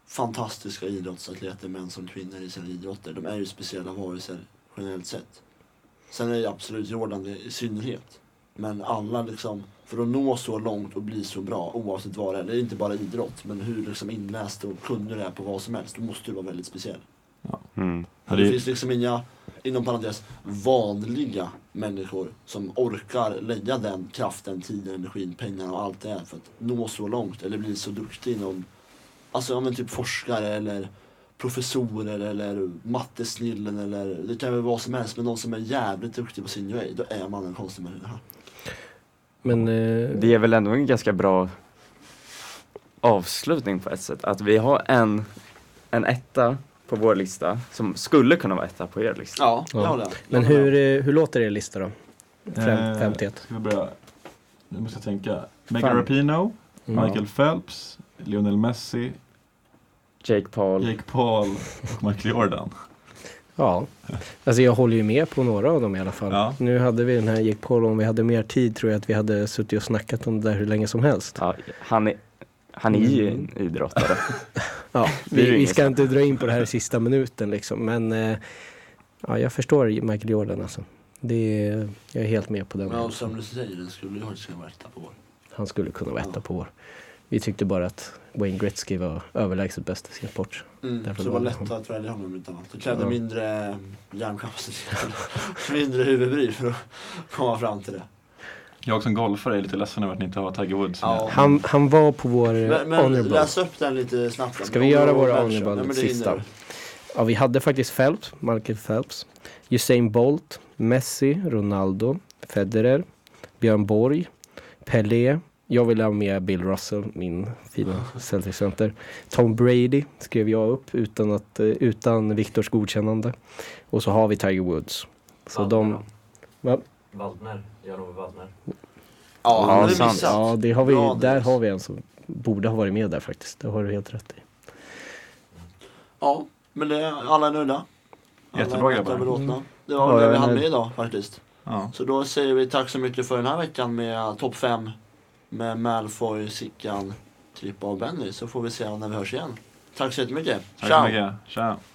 fantastiska idrottsatleter, män som kvinnor i sina idrotter, de är ju speciella varelser generellt sett. Sen är ju absolut Jordan det i synnerhet. Men alla liksom, för att nå så långt och bli så bra oavsett vad det är, det är inte bara idrott, men hur liksom inläst och kunnig du är på vad som helst, då måste du vara väldigt speciell.
Mm.
Ja,
Det,
det-
finns liksom inga, inom parentes, vanliga människor som orkar lägga den kraften, tiden, energin, pengarna och allt det är för att nå så långt eller bli så duktig inom, alltså ja men typ forskare eller professorer eller mattesnillen eller det kan väl vad som helst men någon som är jävligt duktig på sin grej, då är man en konstig människa.
Men eh,
Det är väl ändå en ganska bra avslutning på ett sätt, att vi har en, en etta på vår lista, som skulle kunna vara etta på er lista.
Ja,
Ja.
det håller jag.
men
Jag håller
hur,
med.
eh, hur låter er lista då? Fem,
Eh,
51.
Ska vi börja? Nu måste jag tänka.
Fan.
Megan Rapinoe,
Mm.
Michael Phelps, Lionel Messi,
Jake Paul.
Jake Paul och Michael Jordan.
Ja, alltså jag håller ju med på några av dem i alla fall.
Ja.
Nu hade vi den här Jake Paul, om vi hade mer tid tror jag att vi hade suttit och snackat om det där hur länge som helst.
Ja, han är, han är ju
Mm.
en idrottare.
Ja,
Det är
vi,
ju
vi
inget
ska inte dra in på det här i sista minuten liksom, men eh, ja, jag förstår Michael Jordan alltså. Det är, jag är helt med på den.
Men ja, som du säger, den skulle ju faktiskt kunna vara etta på vår.
Han skulle kunna vara etta på vår. Vi tyckte bara att Wayne Gretzky var överlägset bäst i sin sport.
Mm,
Därför
så det
var
var
det
lättare att välja honom utan allt. Det krävde
Ja.
mindre eh, hjärnkapacitet, mindre huvudbry för att komma fram till det.
Jag som golfare är lite ledsen över att ni inte har Tiger Woods med.
Ja.
Han, han var på vår eh,
Men, men
honorable.
läs upp den lite snabbt. då.
Ska vi göra våra
Honorable
honorable
mention? Nej, men det
sista?
hinner
Ja, vi hade faktiskt Phelps, Michael Phelps, Usain Bolt, Messi, Ronaldo, Federer, Björn Borg, Pelé. Jag ville ha med Bill Russell, min fina Celtic Center. Tom Brady skrev jag upp utan, att, eh, utan Viktors godkännande. Och så har vi Tiger Woods. Så de... Va?
Waldner, Jan-Ove Waldner.
Ja, han har
Ja,
vi
sant.
missat.
Ja, det har vi,
Bra,
där
Andreas.
har vi en som borde ha varit med där faktiskt. Det har du helt rätt i.
Ja, men det, alla är nöjda. Alla
Jättebra,
är
grabbar.
belåtna.
Mm.
Det var
Ja,
väl det
jag
vi
är
hann
nöjd.
med idag faktiskt.
Ja.
Så då säger vi tack så mycket för den här veckan med topp 5 med Malfoy, Sickan, Trippa och Benny. Så får vi se när vi hörs igen. Tack så jättemycket.
Tack så mycket. Ciao.